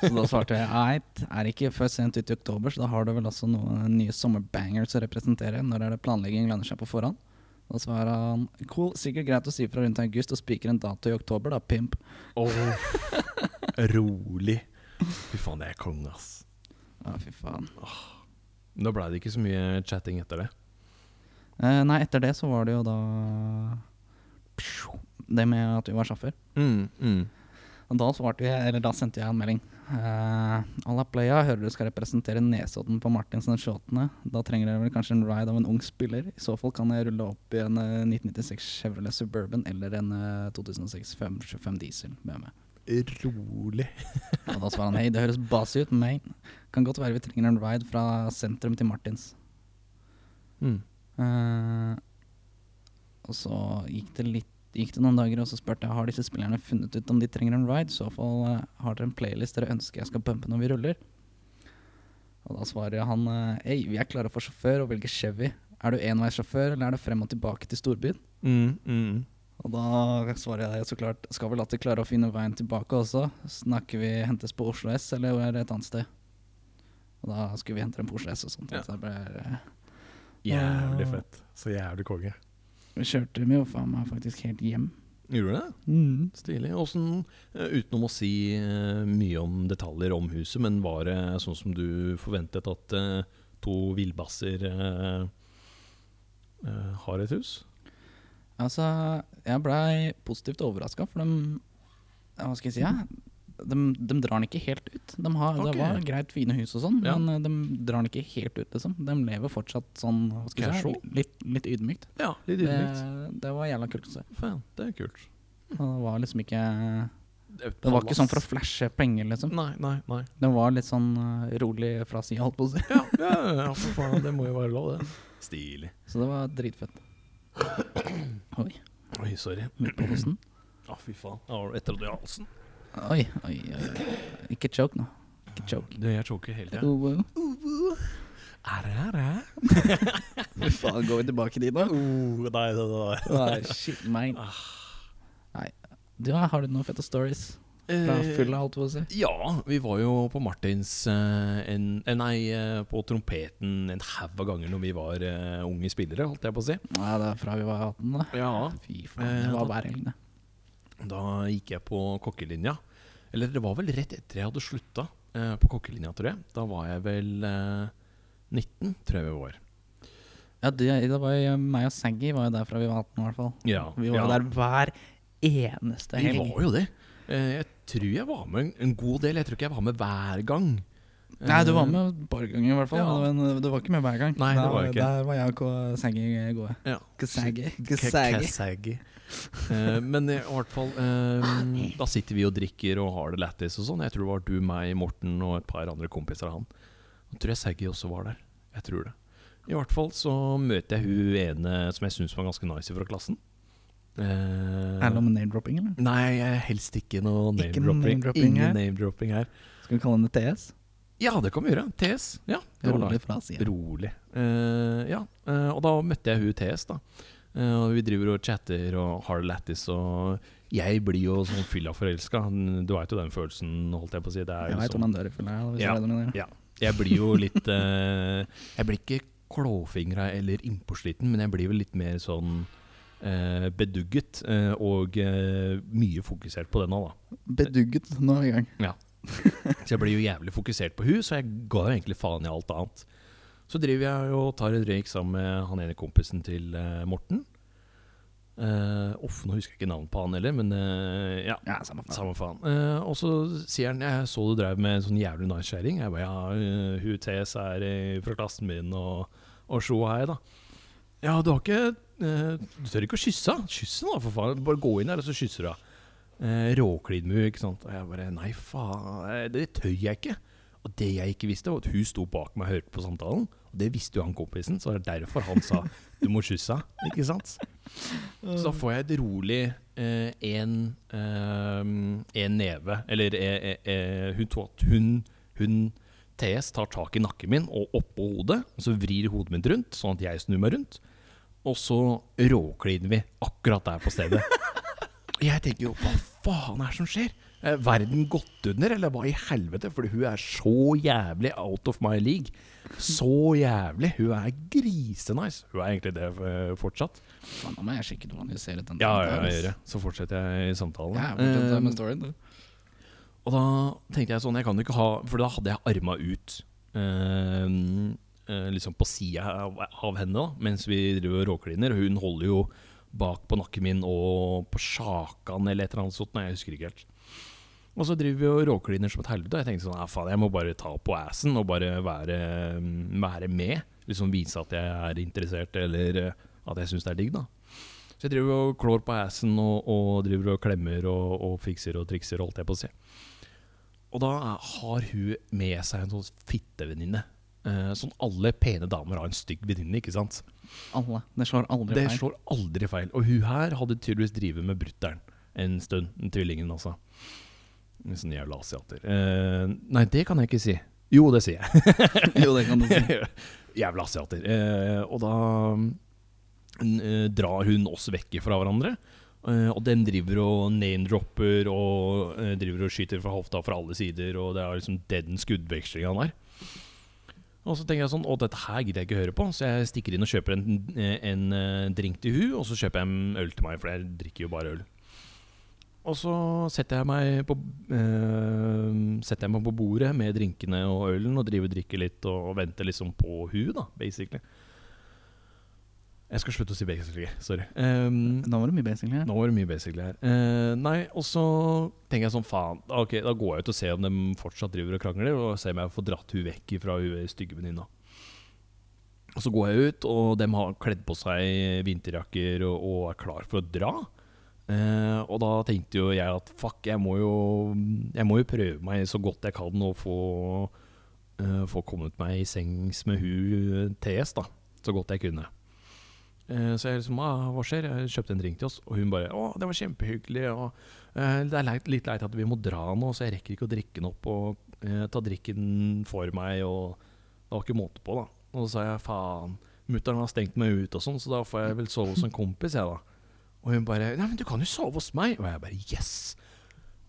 Så da svarte jeg eit, er ikke før sent ut i oktober, så da har du vel også noen nye sommerbangers å representere. Når er det planlegging lønner seg på forhånd? Da svarer han cool, sikkert greit å si fra rundt august og spiker en dato i oktober, da, pimp. <laughs> rolig. Fy faen, det er konge, ass. Ja, fy faen. Nå blei det ikke så mye chatting etter det. Eh, nei, etter det så var det jo da det med at vi var sjaffer. Mm, Og da svarte jeg, eller da sendte jeg en melding. Uh, Alla Playa, hører du skal representere Nesodden på Martins den 28. Da trenger dere vel kanskje en ride av en ung spiller. I så fall kan jeg rulle opp i en eh, 1996 Chevrolet Suburban eller en eh, 2006 525 Diesel BMW. Rolig. Og da svarer han hei, det høres basi ut, men kan godt være vi trenger en ride fra sentrum til Martins. Mm, Eh, og så gikk det, litt, gikk det noen dager, og så spurte jeg har disse spillerne funnet ut om de trenger en ride. I så fall eh, har dere en playlist dere ønsker jeg skal pumpe når vi ruller. Og da svarer han eh, hei, vi er klare for sjåfør og velger Chevy. Er du enveissjåfør, eller er det frem og tilbake til storbyen? mm, Og da svarer jeg så klart skal vel alltid klare å finne veien tilbake også. Snakker vi hentes på Oslo S, eller er det et annet sted? Og da skulle vi hente dem på Oslo S og sånt. Ja. Så det ble, eh, Jævlig fett. Så jævlig konge. vi kjørte dem jo faen meg faktisk helt hjem. Gjorde du det? Stilig. Åssen, eh, utenom å si eh, mye om detaljer om huset, men var det sånn som du forventet at eh, to villbasser eh, eh, har et hus? Altså, jeg blei positivt overraska, for de ja, Hva skal jeg si? Ja? De, de drar den ikke helt ut. De har, Ok. Det var greit fine hus og sånn, Ja. men eh, de drar den ikke helt ut, liksom. De lever fortsatt sånn hva skal jeg si, Casual? litt, litt ydmykt. Ja, litt Det, ydmykt. Hmm. det var jævla kult å se. Faen, det er kult. Og Det var liksom ikke Det var ikke sånn for å flashe penger, liksom. Nei, nei, nei. Det var litt sånn eh, rolig fra sida, holdt på å si. Ja, ja, ja, ja, for faen, det må jo være lov, det. Stilig. Så det var dritfett. Oi. Oi, sorry. Midt på posten. Å, fy faen. Jeg har etter det i halsen. Oi, oi, oi. oi. Ikke choke nå. Ikke choke. Du, jeg choker hele tida. Oh, wow. Er det her, er det? Fy faen, går vi tilbake dit nå? Oh, nei, nei, nei. Nei, shit, man. Ah. Nei. Du, har du noen fette stories? Fra Eh, full av alt, hva skal jeg si? Ja, vi var jo på Martins eh, en, eh, Nei, eh, på trompeten en haug av ganger når vi var eh, unge spillere, holdt jeg på å si. Nei, det er fra vi var 18, da. Ja. Fy faen, det var hver helg, det. Da gikk jeg på kokkelinja. Eller det var vel rett etter jeg hadde slutta eh, på kokkelinja, tror jeg. Da var jeg vel eh, 19, tror jeg vi var. Ja, det, det var jo meg og Saggy var jo der fra vi var 18, i hvert fall. Ja, Vi var ja. jo der hver eneste Vi helg. var jo det. Eh, jeg tror jeg var med en- en god del. Jeg tror ikke jeg var med hver gang. Eh, Nei, du var med et par ganger, i hvert fall. Ja. Men eh, du var ikke med hver gang. Nei, det Der- var jeg ikke. Der var jeg og Saggy gode. Ja. Saggy. Kasagi. Eh, men i hvert fall eh, Da sitter vi og drikker og har det lættis og sånn. Jeg tror det var du, meg, Morten og et par andre kompiser av han. Jeg tror jeg Saggy også var der. Jeg tror det. I hvert fall så møter jeg hun ene som jeg syns var ganske nice fra klassen. Eh, Er det noe med name-dropping, eller? nei, eh, helst ikke noe Ikke name-dropping. noe name-dropping her. Ingen name-dropping her. Skal vi kalle henne TS? Ja, det kan vi gjøre. TS. Ja, det var nice. Rolig fra siden. Rolig. Eh, ja, eh, og da møtte jeg hun TS, da. Eh, og vi driver og chatter og har det lættis, og jeg blir jo sånn fylla-forelska. Du veit jo den følelsen, holdt jeg på å si. Det er Jeg jo veit sånn. hvordan dør i fylla er. hvis Ja. det er det du mener. Jeg blir jo litt eh, Jeg blir ikke klåfingra eller innpåsliten, men jeg blir vel litt mer sånn eh, bedugget eh, og eh, mye fokusert på det nå, da. Bedugget. Nå er vi i gang. Så jeg blir jo jævlig fokusert på hun, så jeg ga jo egentlig faen i alt annet. Så driver jeg og tar en røyk sammen med han ene kompisen til eh, Morten. Eh, Uff, nå husker jeg ikke navnet på han heller, men eh, ja. Ja, samme faen. Samme faen. Eh, og så sier han Jeg så du drev med en sånn jævlig nice kjerring. Jeg bare ja, eh, hun TS er eh, fra klassen min, og, og sjo og hei, da. Ja, du har ikke eh, Du tør ikke å kysse henne? Kyss henne, da, for faen. Bare gå inn der, og så kysser du henne. Uh, Råklin med henne, ikke sant. Og jeg bare Nei, faen, eh, det tør jeg ikke. Og det jeg ikke visste, var at hun sto bak meg og hørte på samtalen. Og det visste jo han kompisen, så det er derfor han sa du må kysse henne, ikke sant? Så da får jeg et rolig eh, én neve. Eller eh, eh, eh, hun, to- at hun, hun TS tar tak i nakken min og oppå hodet. Og så vrir hodet mitt rundt, sånn at jeg snur meg rundt. Og så råkliner vi akkurat der på stedet. Jeg tenker jo, hva faen er det som skjer? Er verden gått under, eller hva i helvete? Fordi hun er så jævlig out of my league. Så jævlig. Hun er grisenice. Hun er egentlig det eh, fortsatt. Faen, nå må jeg sjekke hvordan jeg ser ut den Ja, der, ja, jeg ass. gjør det. Så fortsetter jeg i samtalen. Ja, fortsett Eh, med storyen, du. og da tenkte jeg sånn, jeg kan jo ikke ha For da hadde jeg arma ut eh, eh, Liksom på sida av, av henne da Mens vi driver og råkliner Og hun holder jo bak på nakken min Og på sjakan eller et eller annet sånt Nei, jeg husker ikke helt Og så driver vi og råkliner som et helvete Og jeg tenkte sånn, ja faen, jeg må bare ta på assen Og bare være, være med Liksom vise at jeg er interessert Eller eh, at jeg synes det er digg da Så jeg driver og klår på assen Og, og driver og klemmer og, og fikser og trikser Holdt jeg på å si og da er- har hun med seg en sånn fittevenninne. Eh, sånn alle pene damer har en stygg venninne, ikke sant? Alle. Det slår aldri Det feil. slår aldri feil. Og hun her hadde tydeligvis drevet med brutter'n en stund. den Tvillingen, altså. En Sånn jævla asiater. Eh, nei, det kan jeg ikke si. Jo, det sier jeg. <laughs> jo, det kan du si. <laughs> Jævla asiater. Eh, og da mm, eh, drar hun oss vekk fra hverandre. Eh, og den driver og name-dropper og eh, driver og skyter fra hofta fra alle sider. Og det er liksom den skuddvekslinga han har. Og så tenker jeg sånn, å dette her gidder jeg ikke høre på, så jeg stikker inn og kjøper en, en eh, drink til hun, og så kjøper jeg en øl til meg, for jeg drikker jo bare øl. Og så setter jeg meg på eh, Setter jeg meg på bordet med drinkene og ølen og driver og drikker litt og, og venter liksom på hun, da, basically. Jeg skal slutte å si basically, sorry. Um, Da var det mye basically her. nå var det mye basically her. Eh, nei, og så tenker jeg sånn, faen, ok, da går jeg ut og ser om de fortsatt driver og krangler, og ser om jeg får dratt hun vekk fra hun stygge venninna. Og så går jeg ut, og de har kledd på seg vinterjakker og, og er klar for å dra. Eh, og da tenkte jo jeg at fuck, jeg må jo, jeg må jo prøve meg så godt jeg kan og få, eh, få kommet meg i sengs med hun TS, da. Så godt jeg kunne. Eh, Så jeg liksom, ah, hva skjer? Jeg kjøpte en drink til oss, og hun bare, å, det var kjempehyggelig, og eh, det er leit, litt leit at vi må dra nå, så jeg rekker ikke å drikke den opp, og eh, ta drikken for meg, og det var ikke måte på da. Og så sa jeg, faen, mutteren har stengt meg ut og sånn, så da får jeg vel sove hos en kompis, jeg da. Og hun bare, nei, men du kan jo sove hos meg. Og jeg bare, yes!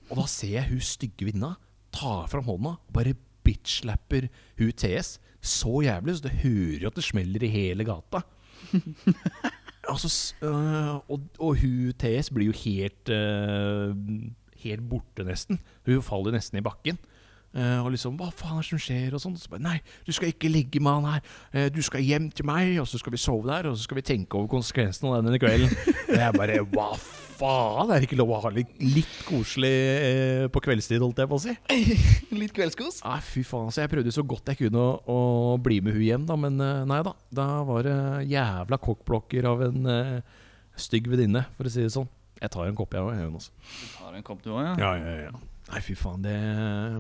Og da ser jeg hun stygge vinna, tar fram hånda, og bare bitch-lapper hun TS, så jævlig, så det hører jo at det smeller i hele gata. Altså, s- øh, og, og hun TS blir jo helt øh, Helt borte, nesten. Hun faller nesten i bakken. Eh, og liksom 'Hva faen er det som skjer?' og sånn. Så bare 'Nei, du skal ikke ligge med han her. Eh, du skal hjem til meg, og så skal vi sove der, og så skal vi tenke over konsekvensene av denne kvelden'. og jeg bare 'Hva faen? Er det ikke lov å ha litt, litt koselig eh, på kveldstid', holdt jeg på å si. <laughs> Litt kveldskos. Nei, fy faen. Så jeg prøvde så godt jeg kunne å, å bli med hun hjem, da, men eh, nei da. Da var det jævla kokkblokker av en eh, stygg venninne, for å si det sånn. Jeg tar en kopp, jeg òg, Jonas. Har du en kopp, du òg, Ja, ja, ja. Nei, fy faen, det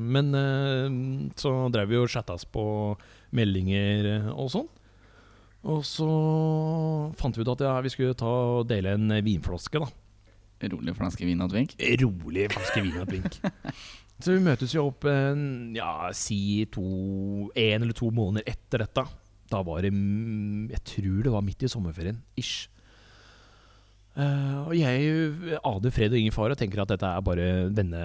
Men eh, så drev vi og chattas på meldinger eh, og sånn. Og så fant vi ut at ja, vi skulle ta og dele en vinflaske, da. Rolig flaske vin og et vink. Rolig flaske vin og et blink. <laughs> Så vi møtes jo opp en, ja, si to, en eller to måneder etter dette. Da var det mm, Jeg tror det var midt i sommerferien. Ish. Eh, og jeg aner fred og ingen fare og tenker at dette er bare venne,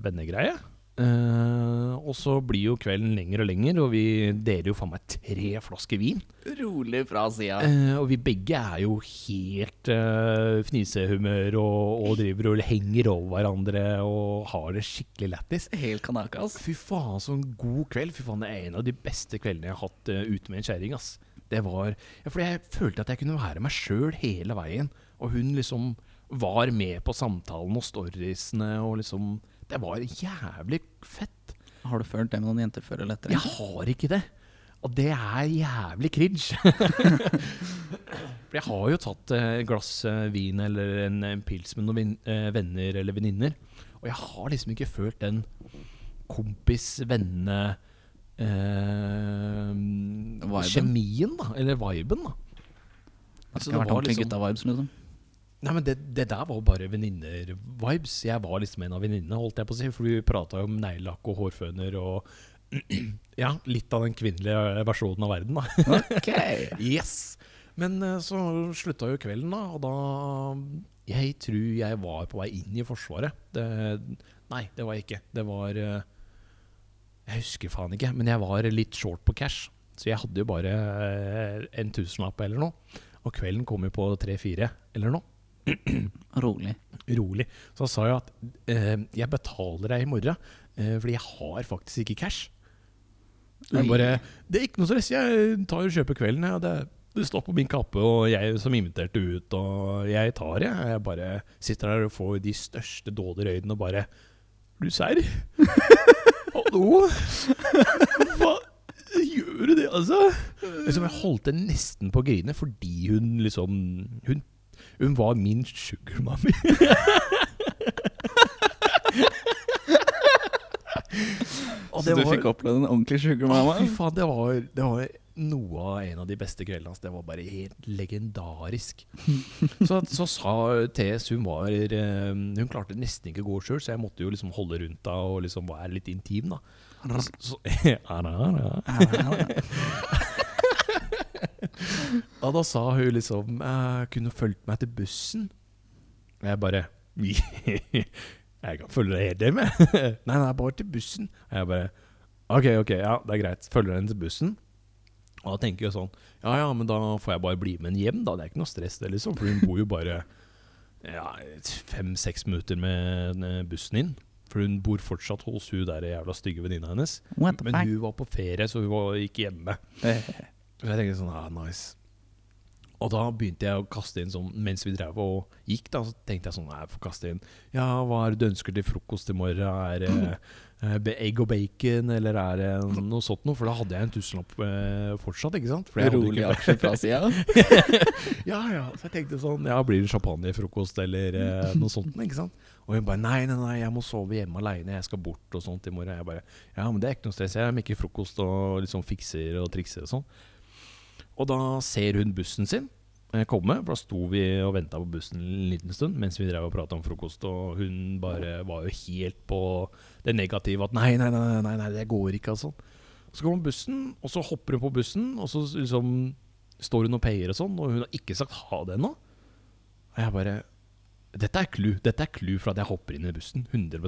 vennegreie. Eh, og så blir jo kvelden lengre og lengre, og vi deler jo faen meg tre flasker vin. Rolig fra sida. Eh, og vi begge er jo helt eh, fnisehumør og, og driver og henger over hverandre og har det skikkelig lættis. Helt kanakas. Fy faen, så en god kveld. Fy faen, Det er en av de beste kveldene jeg har hatt eh, ute med en kjerring. ass. Det var ja, Fordi jeg følte at jeg kunne være meg sjøl hele veien. Og hun liksom var med på samtalen og storiesene og liksom Det var jævlig fett. Har du følt det med noen jenter før eller etter? Jeg har ikke det. Og det er jævlig cringe. For <laughs> jeg har jo tatt eh, et glass eh, vin eller en, en pils med noen vin- eh, venner eller venninner. Og jeg har liksom ikke følt den kompis, venne eh, Kjemien, da. Eller viben, da. Det Så skal ha vært var ordentlig liksom- gutta-vibes, liksom. Nei, men det, det der var bare venninner-vibes. Jeg var liksom en av venninnene, holdt jeg på å si. For vi prata jo om neglelakk og hårføner og <clears throat> Ja, litt av den kvinnelige versjonen av verden, da. Ok. Yes! Men eh, så slutta jo kvelden, da, og da Jeg tror jeg var på vei inn i Forsvaret. Det, nei, det var jeg ikke. Det var eh, Jeg husker faen ikke, men jeg var litt short på cash. Så jeg hadde jo bare eh, en tusenlapp eller noe. Og kvelden kom jo på tre-fire eller noe. <laughs> Rolig. Rolig. Så sa jeg at eh, jeg betaler deg i morgen, eh, fordi jeg har faktisk ikke cash. Hun Oi. bare 'Det er ikke noe stress, jeg tar og kjøper kvelden', jeg. Det, det står på min kappe, og jeg som inviterte ut, og jeg tar, jeg. Jeg bare sitter der og får de største dåderøydene og bare 'Er du serr? Hallo? Hva gjør du det, altså?' Liksom, jeg holdt det nesten på å grine fordi hun liksom Hun, hun var min sugar mommy. <laughs> Og Så du fikk opplevd en ordentlig sugar mama? Å, Fy faen, det var, det var noe av en av de beste kveldene hans. Det var bare helt legendarisk. Så, så sa TS hun var eh, Hun klarte nesten ikke å gå sjøl, så jeg måtte jo liksom holde rundt henne og liksom være litt intim, da. Og altså. Så, så, <laughs> Ja, da, da. Og da sa hun liksom eh, Kunne du fulgt meg til bussen? Og jeg bare <laughs> Jeg kan følge deg helt hjem, jeg. <laughs> Nei, nei, bare til bussen. Og jeg bare Ok, ok, ja, det er greit. Følger henne til bussen. Og da tenker jeg sånn Ja ja, men da får jeg bare bli med henne hjem, da. Det er ikke noe stress, det, liksom. For hun bor jo bare ja, fem-seks minutter med eh, bussen inn. For hun bor fortsatt hos hun der jævla stygge venninna hennes. What the Men fuck? hun var på ferie, så hun var ikke hjemme. Så jeg tenkte sånn, ah, nice Og da begynte jeg å kaste inn sånn Mens vi drev og gikk da Så tenkte jeg sånn, nei, jeg får kaste inn Ja, hva er det du ønsker til frokost i morgen? Er det eh, be- egg og bacon? Eller er det noe sånt noe? For da hadde jeg en tusenlapp eh, fortsatt, ikke sant? For jeg hadde Rolig ikke- aksje fra sida? <laughs> ja, ja. Så jeg tenkte sånn Ja, blir det champagnefrokost eller eh, noe sånt? ikke sant? Og hun bare nei, nei, nei, jeg må sove hjemme aleine, jeg skal bort og sånt i morgen. Jeg bare ja, men det er ikke noe stress, jeg mekker frokost og liksom fikser og trikser og sånn. Og da ser hun bussen sin eh, komme, for da sto vi og venta på bussen en liten stund mens vi drev og prata om frokost, og hun bare var jo helt på det negative at nei, nei, nei, nei, nei, nei det går ikke, altså. Så kommer bussen, og så hopper hun på bussen, og så liksom står hun og payer og sånn, og hun har ikke sagt ha det ennå. Og jeg bare Dette er clou. Dette er clou for at jeg hopper inn i bussen. 100 Og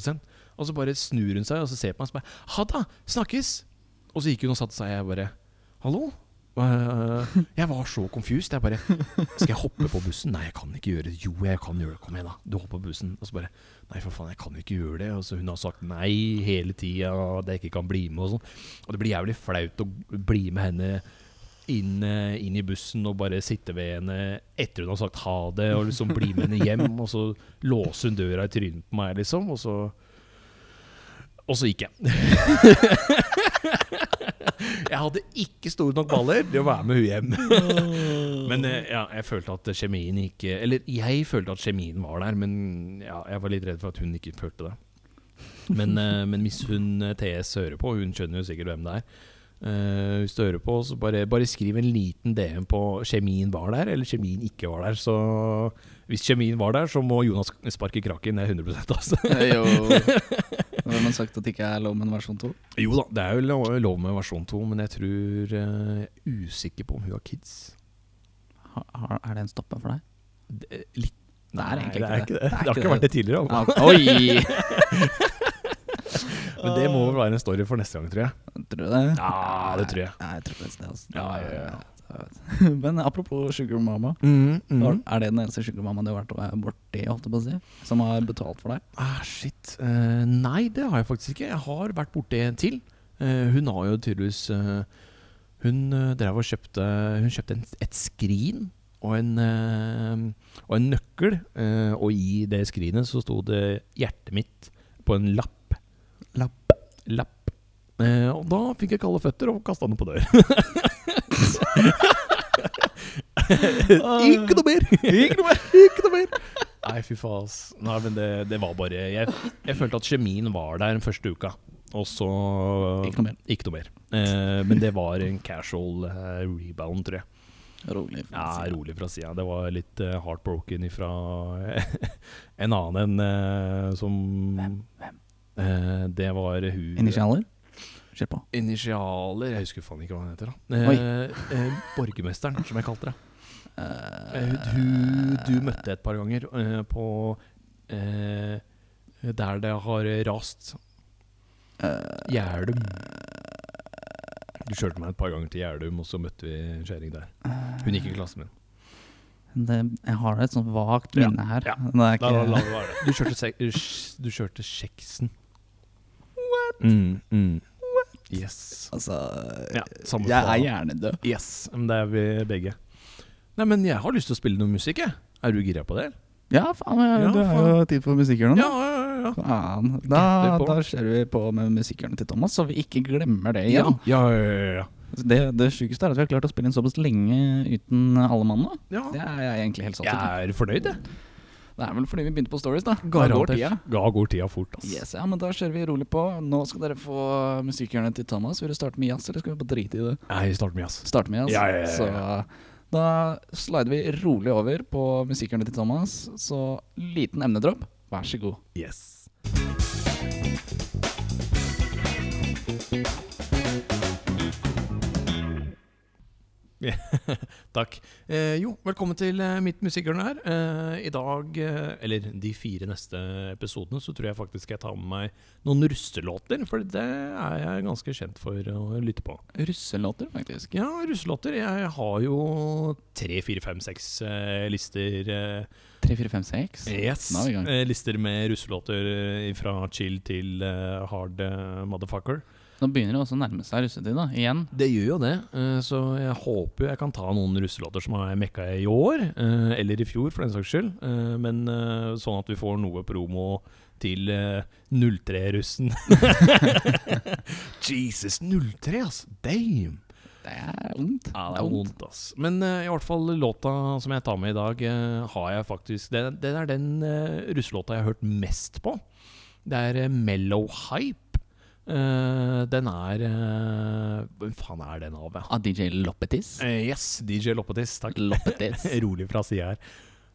så bare snur hun seg og så ser på meg og så bare Ha da! Snakkes! Og så gikk hun og satte seg, og jeg bare Hallo? Eh, jeg var så confused. Jeg bare Skal jeg hoppe på bussen? Nei, jeg kan ikke gjøre det. Jo, jeg kan gjøre det. Kom igjen, da. Du hopper på bussen. Og så bare Nei, for faen, jeg kan jo ikke gjøre det. Og så hun har sagt nei hele tida, at jeg ikke kan bli med og sånn. Og det blir jævlig flaut å bli med henne inn, eh, inn i bussen og bare sitte ved henne etter hun har sagt ha det, og liksom bli med henne hjem, <laughs> og så låse hun døra i trynet på meg, liksom, og så Og så gikk jeg. <laughs> jeg hadde ikke store nok baller til å være med hun hjem. <laughs> men eh, ja, jeg følte at kjemien ikke Eller jeg følte at kjemien var der, men ja, jeg var litt redd for at hun ikke følte det. Men, eh, men hvis hun eh, TS hører på, hun skjønner jo sikkert hvem det er. Eh, hvis du hører på, så bare, bare skriv en liten DM på 'kjemien var der' eller 'kjemien ikke var der'. Så hvis kjemien var der, så må Jonas sparke kraken. Det er 100 altså. Jo. Hvem har sagt at det ikke er lov med en versjon to? Jo da, det er jo lov, lov med versjon 2, men jeg tror eh, Jeg er usikker på om hun har kids. Har, har, er det en stopper for deg? Det, litt Det er egentlig Nei, ikke det. det. Det er Det har ikke ikke vært det. det tidligere. altså. Ah, oi! Men det må vel være en story for neste gang, tror jeg. Tror du det? Ja, det tror jeg. Nei, jeg tror på et sted, altså. Ja, ja, ja. <laughs> Men apropos sugar mama. Mhm. har- Er det den eneste sugar mama du har vært borti, holdt jeg på å si? Som har betalt for deg? Ah, shit. Eh, nei, det har jeg faktisk ikke. Jeg har vært borti en til. Eh, hun har jo tydeligvis eh, Hun eh, drev og kjøpte Hun kjøpte en, et skrin og en, eh, og en nøkkel. eh, og i det skrinet så sto det hjertet mitt på en lapp. Lapp. Lapp. Eh, og da fikk jeg kalde føtter og kasta den på <laughs> dør. ikke noe mer! <laughs> ikke noe mer! Ikke noe mer! Nei, fy faen. ass. Nei, men det, det var bare jeg, jeg følte at kjemien var der den første uka, og så Ikke noe mer. Ikke noe mer. Eh, men det var en casual eh, rebound, tror jeg. Rolig. for å Ja, si det. Rolig fra sida. Det var litt eh, heartbroken ifra eh, <laughs> en annen enn eh, som Hvem? Hvem? Eh, det var hun Initialer? Kjør på. Initialer Jeg husker faen ikke hva han heter, da. Eh, eh, borgermesteren, som jeg kalte det. Eh, Eh, Du, du møtte et par ganger eh, på eh, Der det har rast. eh, Gjerdum. Du kjørte meg et par ganger til Gjerdum, og så møtte vi en kjerring der. Hun gikk i klassen min. eh, det, jeg har et sånt vagt Ja, minne her. ja. <laughs> Det er La, la, la ikke, det være. Du kjørte, sek du kjørte Kjeksen. What? Mm, mm. Yes. altså Ja, samme Jeg faen. er hjernedød. Yes, men det er vi begge. Nei, men jeg har lyst til å spille noe musikk, jeg. Er du gira på det? eller? Ja, faen, jeg, Ja, du har jo tid for musikkhjørnet. nå. Ja, ja, ja. Faen. Da, Gøtter på. da kjører vi på med musikkhjørnet til Thomas, så vi ikke glemmer det Ja, igjen. ja, ja, ja, ja. Det, det sjukeste er at vi har klart å spille inn såpass lenge uten alle mannene. ja. Det er jeg egentlig helt satt ut. i. Jeg er fornøyd, jeg. Det er vel fordi vi begynte på stories, da. Garantert. Ja, går tida fort, ass. Yes, ja, men da kjører vi rolig på. Nå skal dere få musikkhjørnet til Thomas. Vil du starte med jazz, eller skal vi bare drite i det? Nei, start med jazz. Starte med jazz. Ja, ja, ja, ja. Så da slider vi rolig over på musikkhjørnet til Thomas. Så liten emnedropp. Vær så god. Yes. Ja, <laughs> Takk. Eh, jo, velkommen til eh, mitt musikkhjørne her. Eh, I dag, eh, eller de fire neste episodene, så tror jeg faktisk jeg tar med meg noen russelåter. For det er jeg ganske kjent for å lytte på. Russelåter, faktisk. Ja, russelåter. Jeg har jo tre, fire, fem, seks eh, lister. Eh, 3, 4, 5, 6. Yes. Nå er vi i gang. Eh, lister med russelåter eh, fra chill til eh, hard eh, motherfucker. Nå begynner det også å nærme seg russetid, da. Igjen. Det gjør jo det, eh, så jeg håper jeg kan ta noen russelåter som har mekka i år, eh, eller i fjor for den saks skyld. eh, Men eh, sånn at vi får noe promo til eh, <laughs> 03-russen. Jesus, 03, ass. Damn. Det er vondt. Ja, det er vondt, ass. Men eh, i hvert fall låta som jeg tar med i dag, eh, har jeg faktisk Det, det er den uh, russelåta jeg har hørt mest på. Det er eh, Mellow Hype. Eh, den er eh, Hvem faen er den av, ja? Av DJ Loppetis. Eh, yes, DJ Loppetis, takk. <laughs> Loppetis. <laughs> Rolig fra sida her.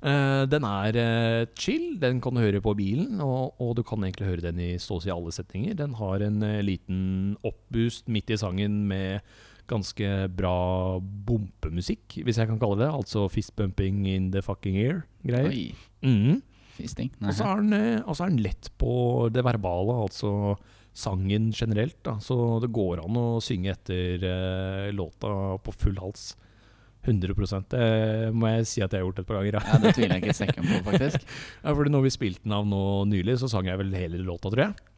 Eh, den er eh, chill, den kan du høre på bilen, og, og du kan egentlig høre den i så å si alle setninger. Den har en eh, liten oppboost midt i sangen med ganske bra bompemusikk, hvis jeg kan kalle det. Altså fistbumping in the fucking ear-greier. Oi. Mhm. Fisting. Og så er, den, eh, og så er den lett på det verbale, altså sangen generelt. Da. Så det går an å synge etter eh, låta på full hals. 100 Det må jeg si at jeg har gjort et par ganger. Ja. Ja, det tviler jeg ikke et sekund på, <laughs> faktisk. Ja, fordi når vi spilte den av nå nylig, så sang jeg vel hele låta, tror jeg.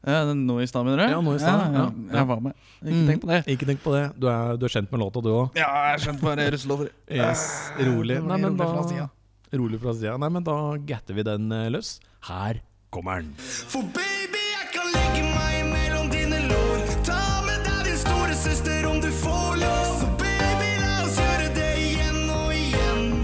Eh, nå i stad, mener du? Ja, nå i stad, ja. Ja. Jeg var med. Ikke tenk på det. Ikke tenk på det. Du er, du er kjent med låta, du òg. Ja, jeg skjønte bare <laughs> russelåter. Yes, Eh, rolig. det blir Nei, men rolig fra da, siden. rolig fra sida. Nei, men da gatter vi den eh, løs. Her kommer den. For baby, jeg kan legge meg imellom dine lår. Ta med deg din store søster om du får lov. Så baby, la oss gjøre det igjen og igjen.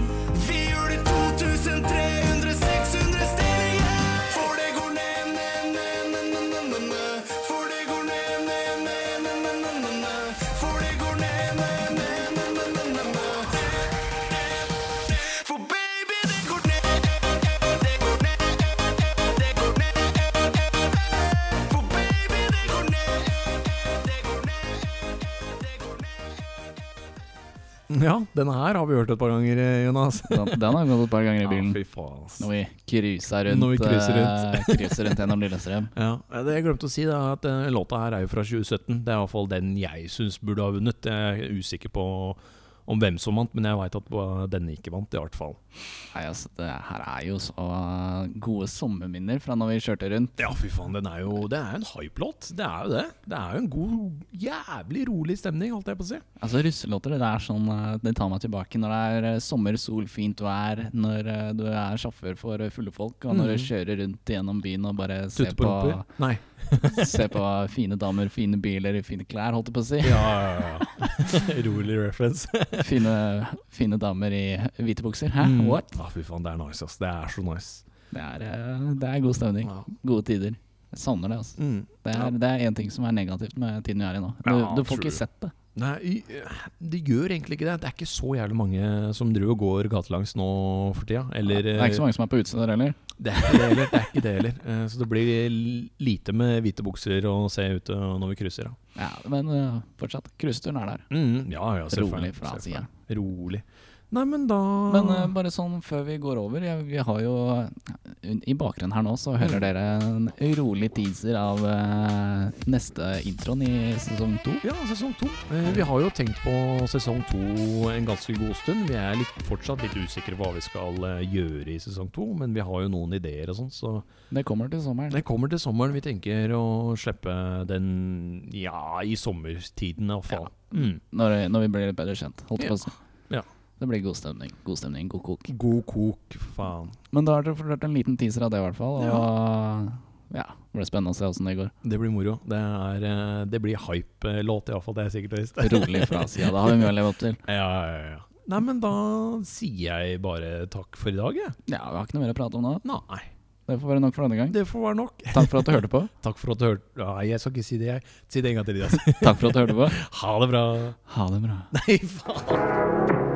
Vi gjør det 2300, 600 steder igjen. For det går ned, ned, ned, ned, ned, ned, ned, ned. For det går ned, ned, ned, ned, ned, ned, ned, ned. For det går ned, ned, ned, ned, ned, ned, ned, ned. For baby, det går ned. Det går ned, det går ned. For baby, det går ned. Det går ned. Det går ned. Ja, denne her har vi hørt et par ganger, eh, Jonas. Den, den har gått et par ganger i bilen. Ja, fy faen, ass. Når vi cruiser rundt, Når vi cruiser eh, cruiser rundt gjennom Lillestrøm. Ja, Det jeg glemte å si, da, at eh, låta her er jo fra 2017. Det er iallfall den jeg syns burde ha vunnet. Jeg er usikker på om hvem som vant, men jeg veit at eh, denne ikke vant, i hvert fall. Nei, altså, det her er jo så gode sommerminner fra når vi kjørte rundt. Ja, fy faen, den er jo Det er jo en hype-låt. Det er jo det. Det er jo en god, jævlig rolig stemning, holdt jeg på å si. Altså Russelåter det er sånn eh, Det tar meg tilbake når det er eh, sommer, sol, fint vær, når eh, du er sjåfør for eh, fulle folk, og når du kjører rundt gjennom byen og bare ser Tutte Mm. på på, rumper. Nei. <laughs> ser på fine damer, fine biler, fine klær, holdt jeg på å si. Ja, <laughs> ja, ja. rolig reference. Fine, fine damer i hvite bukser. Hæ, Mm. what? Ja, fy faen, det er nice, ass. Det er så nice. Det er, eh, det er god stemning. Ja. Gode tider. Jeg savner det, altså. Mm. Det er, det er én ting som er negativt med tiden vi er i nå. Du, Ja, du får true. ikke sett det. Nei, i- det gjør egentlig ikke det. Det er ikke så jævlig mange som driver og går gatelangs nå for tida. Eller, eh, det er ikke så mange som er på utesteder heller. <laughs> Det er ikke det heller. Det er ikke det heller. Eh, Så det blir lite med hvite bukser å se ute når vi krysser. Da. Ja, men eh, fortsatt, cruiseturen er der. Mm, ja, ja, selvfølgelig. Rolig fra selvfølgelig. siden. Rolig. Nei, men da Men eh, bare sånn før vi går over, jeg, vi har jo eh, I bakgrunnen her nå så Mm. hører dere en rolig teaser av eh, neste introen i sesong to. Ja, sesong to. Eh, Vi har jo tenkt på sesong to en ganske god stund. Vi er litt, fortsatt litt usikre på hva vi skal eh, gjøre i sesong to, men vi har jo noen ideer og sånn, så Det kommer til sommeren. det kommer til sommeren. Vi tenker å slippe den ja, i sommertiden i hvert fall. Mm. Når, når vi blir litt bedre kjent. Holdt jeg på å si. Ja. Det blir god stemning. God stemning, god kok. God kok, faen. Men da har dere fått hørt en liten teaser av det, i hvert fall. Og ja, det blir spennende å se åssen det <laughs> går. Det blir moro. Det, er, eh, det blir hype-låt, iallfall. Det er sikkert og visst. Rolig fra sida. Da har vi mye å leve opp til. Ja, ja, ja. Nei, men da sier jeg bare takk for i dag, jeg. Ja, vi har ikke noe mer å prate om nå. Nei, Det får være nok for denne gang. det får være nok. Takk for at du hørte <laughs> på. Takk for at du hørte Nei, jeg skal ikke si det, jeg. <laughs> Si det en gang til, Elias. Takk for at du hørte på. Ha det bra. Ha det bra. Nei, faen.